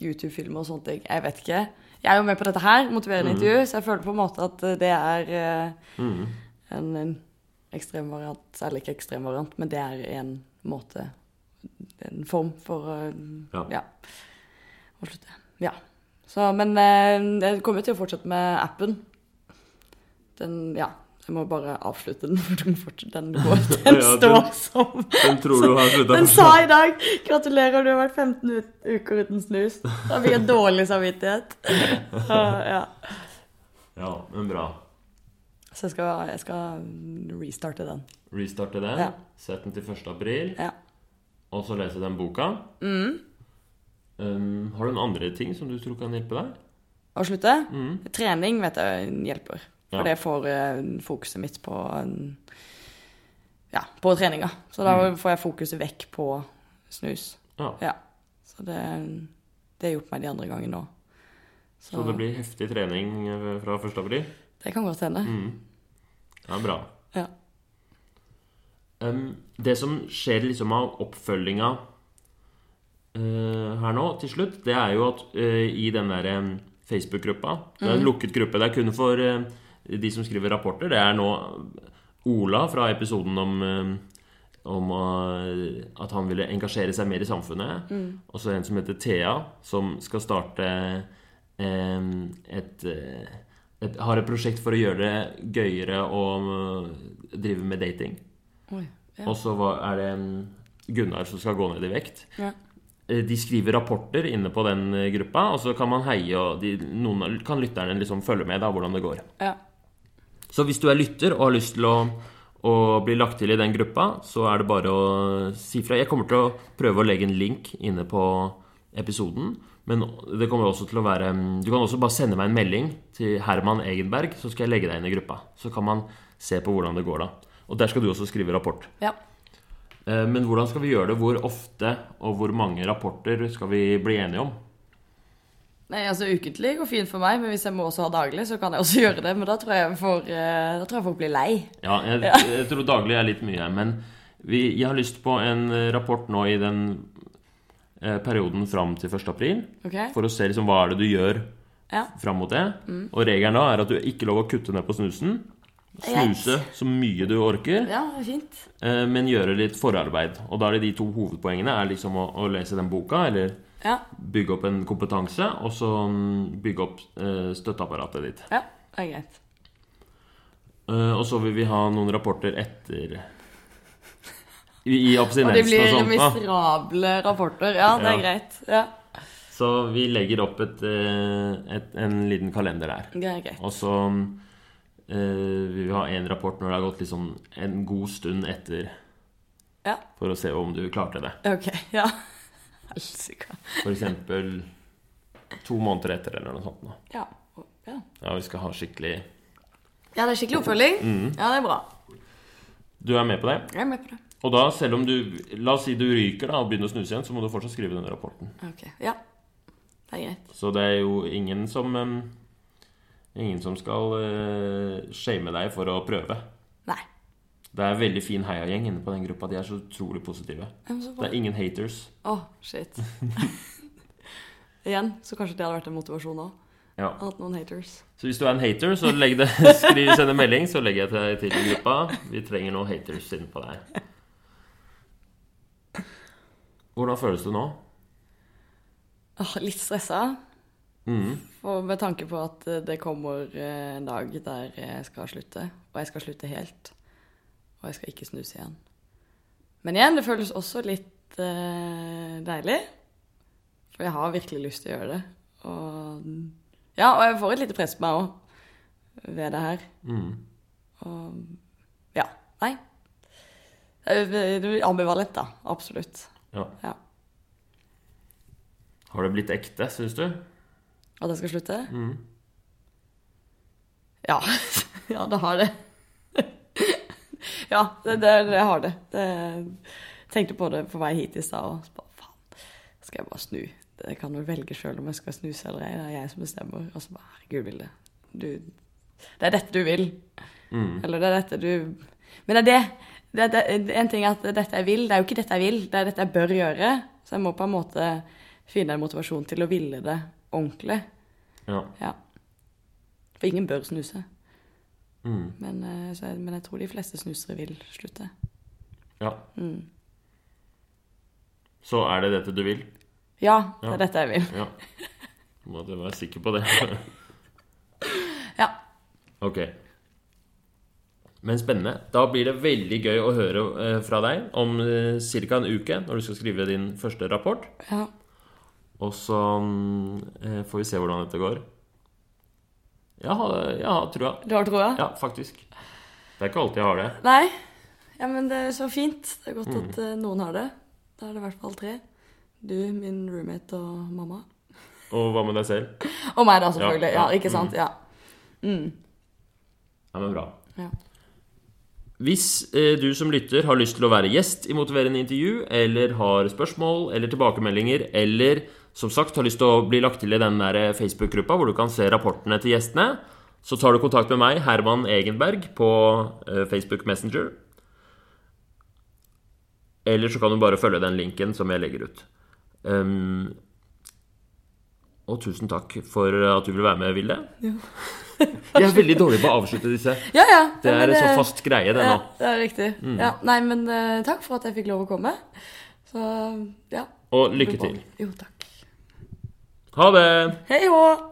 [SPEAKER 2] YouTube-filmer og sånne ting. Jeg vet ikke. Jeg er jo med på dette her, motiverende intervju, så jeg føler på en måte at eh, det er eh, en, en ekstrem variant. Eller ikke ekstrem variant, men det er en måte En form for eh,
[SPEAKER 1] Ja.
[SPEAKER 2] ja. Å slutte. Ja. Så, men eh, jeg kommer jo til å fortsette med appen. Den Ja. Jeg må bare avslutte den, for den, forts- den, går, den
[SPEAKER 1] Ja, den-
[SPEAKER 2] står som
[SPEAKER 1] Hvem tror du har slutta?
[SPEAKER 2] den sa i dag 'Gratulerer, du har vært 15 ut- uker uten snus'. Da fikk jeg dårlig samvittighet. Så, ja.
[SPEAKER 1] Ja, men bra.
[SPEAKER 2] Så jeg skal, jeg skal restarte den.
[SPEAKER 1] Restarte den.
[SPEAKER 2] Ja.
[SPEAKER 1] Sett den til 1. april.
[SPEAKER 2] Ja.
[SPEAKER 1] Og så lese den boka. Um, har du noen andre ting som du tror kan hjelpe deg? Mm.
[SPEAKER 2] Og slutte? Trening vet jeg hjelper. For
[SPEAKER 1] Ja.
[SPEAKER 2] det får eh, fokuset mitt på eh, Ja, på treninga. Så da får jeg fokuset vekk på snus.
[SPEAKER 1] Mm. Ja.
[SPEAKER 2] Ja. Så det Det har hjulpet meg de andre gangene òg. Så,
[SPEAKER 1] Så det
[SPEAKER 2] det,
[SPEAKER 1] blir heftig trening eh, fra 1. april?
[SPEAKER 2] kan godt hende.
[SPEAKER 1] Mm. Ja, bra.
[SPEAKER 2] Ja.
[SPEAKER 1] Um, det som skjer liksom av oppfølginga eh, her nå, til slutt, det er jo at eh, i den der eh, Facebook-gruppa Det er en lukket gruppe. Det er kun for eh, de som skriver rapporter. Det er nå Ola fra episoden om eh, om eh, at han ville engasjere seg mer i samfunnet. Og så en som heter Thea, som skal starte eh, et, eh, et Har et prosjekt for å gjøre det gøyere å eh, drive med dating.
[SPEAKER 2] Oi. Ja.
[SPEAKER 1] Mm. Og så var- er det mm, Gunnar som skal gå ned i vekt.
[SPEAKER 2] ja.
[SPEAKER 1] Eh, De skriver rapporter inne på den eh, gruppa, og så kan man heie, og de, noen av- kan lytterne liksom følge med da, hvordan det går.
[SPEAKER 2] ja.
[SPEAKER 1] Så hvis du er lytter og har lyst til å, å bli lagt til i den gruppa, så er det bare å si fra. Jeg kommer til å prøve å legge en link inne på episoden. Men det kommer også til å være Du kan også bare sende meg en melding til Herman Egenberg, så skal jeg legge deg inn i gruppa. Så kan man se på hvordan det går da. Og der skal du også skrive rapport.
[SPEAKER 2] ja.
[SPEAKER 1] Eh, Men hvordan skal vi gjøre det? Hvor ofte og hvor mange rapporter skal vi bli enige om?
[SPEAKER 2] Nei, altså Ukentlig går fint for meg, men hvis jeg må også ha daglig, så kan jeg også gjøre det. Men da tror jeg, får, eh, da tror jeg folk blir lei.
[SPEAKER 1] Ja, jeg, jeg tror daglig er litt mye, men vi, jeg har lyst på en eh, rapport nå i den eh, perioden fram til 1. april,
[SPEAKER 2] Ok?
[SPEAKER 1] for å se liksom, hva er det du gjør
[SPEAKER 2] Ja.
[SPEAKER 1] fram mot det. Og regelen da er at du er ikke lov å kutte ned på snusen. Snuse så mye du orker,
[SPEAKER 2] ja, det er fint.
[SPEAKER 1] eh, men gjøre litt forarbeid. Og da er det de to hovedpoengene er liksom å, å lese den boka, eller
[SPEAKER 2] Ja.
[SPEAKER 1] bygge opp en kompetanse, og så mm, bygge opp eh, støtteapparatet ditt.
[SPEAKER 2] ja, det er greit.
[SPEAKER 1] Eh, og så vil vi ha noen rapporter etter I, i
[SPEAKER 2] Og det
[SPEAKER 1] abstinensen og
[SPEAKER 2] blir
[SPEAKER 1] sånt. da.
[SPEAKER 2] miserable rapporter. Ja, det
[SPEAKER 1] Ja.
[SPEAKER 2] er greit. Ja.
[SPEAKER 1] Så Så vi legger opp et, eh, et, en liten kalender der.
[SPEAKER 2] Det er greit.
[SPEAKER 1] Og så eh, vil vi ha en rapport når det har gått litt sånn en god stund etter,
[SPEAKER 2] Ja.
[SPEAKER 1] for å se om du klarte det.
[SPEAKER 2] Ok, ja. Helsika.
[SPEAKER 1] For eksempel to måneder etter eller noe sånt. nå.
[SPEAKER 2] Ja. ja.
[SPEAKER 1] Ja, vi skal ha skikkelig
[SPEAKER 2] Ja, det er skikkelig oppfølging.
[SPEAKER 1] Mm.
[SPEAKER 2] Ja, det er bra.
[SPEAKER 1] Du er med på det?
[SPEAKER 2] Jeg er med på det.
[SPEAKER 1] Og da, selv om du La oss si du ryker da og begynner å snuse igjen, så må du fortsatt skrive denne rapporten.
[SPEAKER 2] Ok, ja. Det er greit.
[SPEAKER 1] Så det er jo ingen som em, Ingen som skal eh, shame deg for å prøve.
[SPEAKER 2] Nei.
[SPEAKER 1] Det er en veldig fin heiagjeng inne på den gruppa. De er så utrolig positive.
[SPEAKER 2] Ja, men så
[SPEAKER 1] Det
[SPEAKER 2] bra.
[SPEAKER 1] er ingen haters.
[SPEAKER 2] Å, shit. Igjen, så kanskje det hadde vært en motivasjon òg.
[SPEAKER 1] Ja.
[SPEAKER 2] Hatt noen haters.
[SPEAKER 1] Så hvis du er en hater, så legg det, skriv, send en melding, så legger jeg deg til i gruppa. Vi trenger noen haters inne på deg. Hvordan føles det nå?
[SPEAKER 2] Åh, litt stressa.
[SPEAKER 1] Mm.
[SPEAKER 2] For med tanke på at eh, det kommer eh, en dag der jeg skal slutte. Og jeg skal slutte helt. Og jeg skal ikke snuse igjen. Men igjen, det føles også litt eh, deilig. For jeg har virkelig lyst til å gjøre det. Og ja, og jeg får et lite press på meg òg ved det her.
[SPEAKER 1] Mm.
[SPEAKER 2] Og ja. Nei. Det er- det er ambivalent, da. Absolutt.
[SPEAKER 1] Ja.
[SPEAKER 2] Ja.
[SPEAKER 1] Har det blitt ekte, syns du?
[SPEAKER 2] At jeg skal slutte?
[SPEAKER 1] Mm.
[SPEAKER 2] Ja. ja, det har det. ja, det, det, det har det. det. Tenkte på det på vei hit i stad og så bare faen, skal jeg bare snu? Jeg kan jo velge sjøl om jeg skal snuse eller ei. Det er jeg som bestemmer. Og så bare herregud, Vilde. Du Det er dette du vil.
[SPEAKER 1] Mm.
[SPEAKER 2] Eller det er dette du Men det er det. det, er- det er- en ting er at det er dette jeg vil. Det er jo ikke dette jeg vil, det er dette jeg bør gjøre. Så jeg må på en måte finne en motivasjon til å ville det ordentlig.
[SPEAKER 1] Ja.
[SPEAKER 2] Ja. For ingen bør snuse.
[SPEAKER 1] Mm.
[SPEAKER 2] Men, eh, så jeg, men jeg tror de fleste snusere vil slutte. Mm.
[SPEAKER 1] ja. Så er det dette du vil?
[SPEAKER 2] Ja, det
[SPEAKER 1] Ja.
[SPEAKER 2] er dette jeg vil.
[SPEAKER 1] Ja. Må du være sikker på det.
[SPEAKER 2] Ja.
[SPEAKER 1] Ok. Men spennende. Da blir det veldig gøy å høre eh, fra deg om ca. en uke, når du skal skrive din første rapport.
[SPEAKER 2] ja.
[SPEAKER 1] Og så mm, eh, får vi se hvordan dette går. Jeg har, jeg har trua.
[SPEAKER 2] Du har troa?
[SPEAKER 1] Ja, faktisk. Det er ikke alltid jeg har det.
[SPEAKER 2] Nei? Ja, men det er så fint. Det er godt
[SPEAKER 1] Mm.
[SPEAKER 2] at eh, noen har det. Da er det i hvert fall tre. Du, min roommate og mamma.
[SPEAKER 1] Og hva med deg selv?
[SPEAKER 2] Og meg, da, selvfølgelig. Ja,
[SPEAKER 1] ja, Mm.
[SPEAKER 2] ikke sant? Ja.
[SPEAKER 1] Ja, men bra.
[SPEAKER 2] ja.
[SPEAKER 1] Hvis eh, du som lytter har lyst til å være gjest i motiverende intervju, eller har spørsmål eller tilbakemeldinger, eller som sagt har lyst til å bli lagt til i den der eh, Facebook-gruppa hvor du kan se rapportene til gjestene, så tar du kontakt med meg, Herman Egenberg, på eh, Facebook Messenger. Eller så kan du bare følge den linken som jeg legger ut. Ehm, og tusen takk for at du vil være med, Vilde. jeg er veldig dårlig på å avslutte disse.
[SPEAKER 2] ja, ja.
[SPEAKER 1] Det
[SPEAKER 2] Ja, men
[SPEAKER 1] er en så fast greie, det nå.
[SPEAKER 2] Ja,
[SPEAKER 1] Mm.
[SPEAKER 2] det er riktig. Ja, nei, men eh, takk for at jeg fikk lov å komme. Så ja.
[SPEAKER 1] Og lykke til.
[SPEAKER 2] Jo, takk.
[SPEAKER 1] Ha det!
[SPEAKER 2] Hei hå!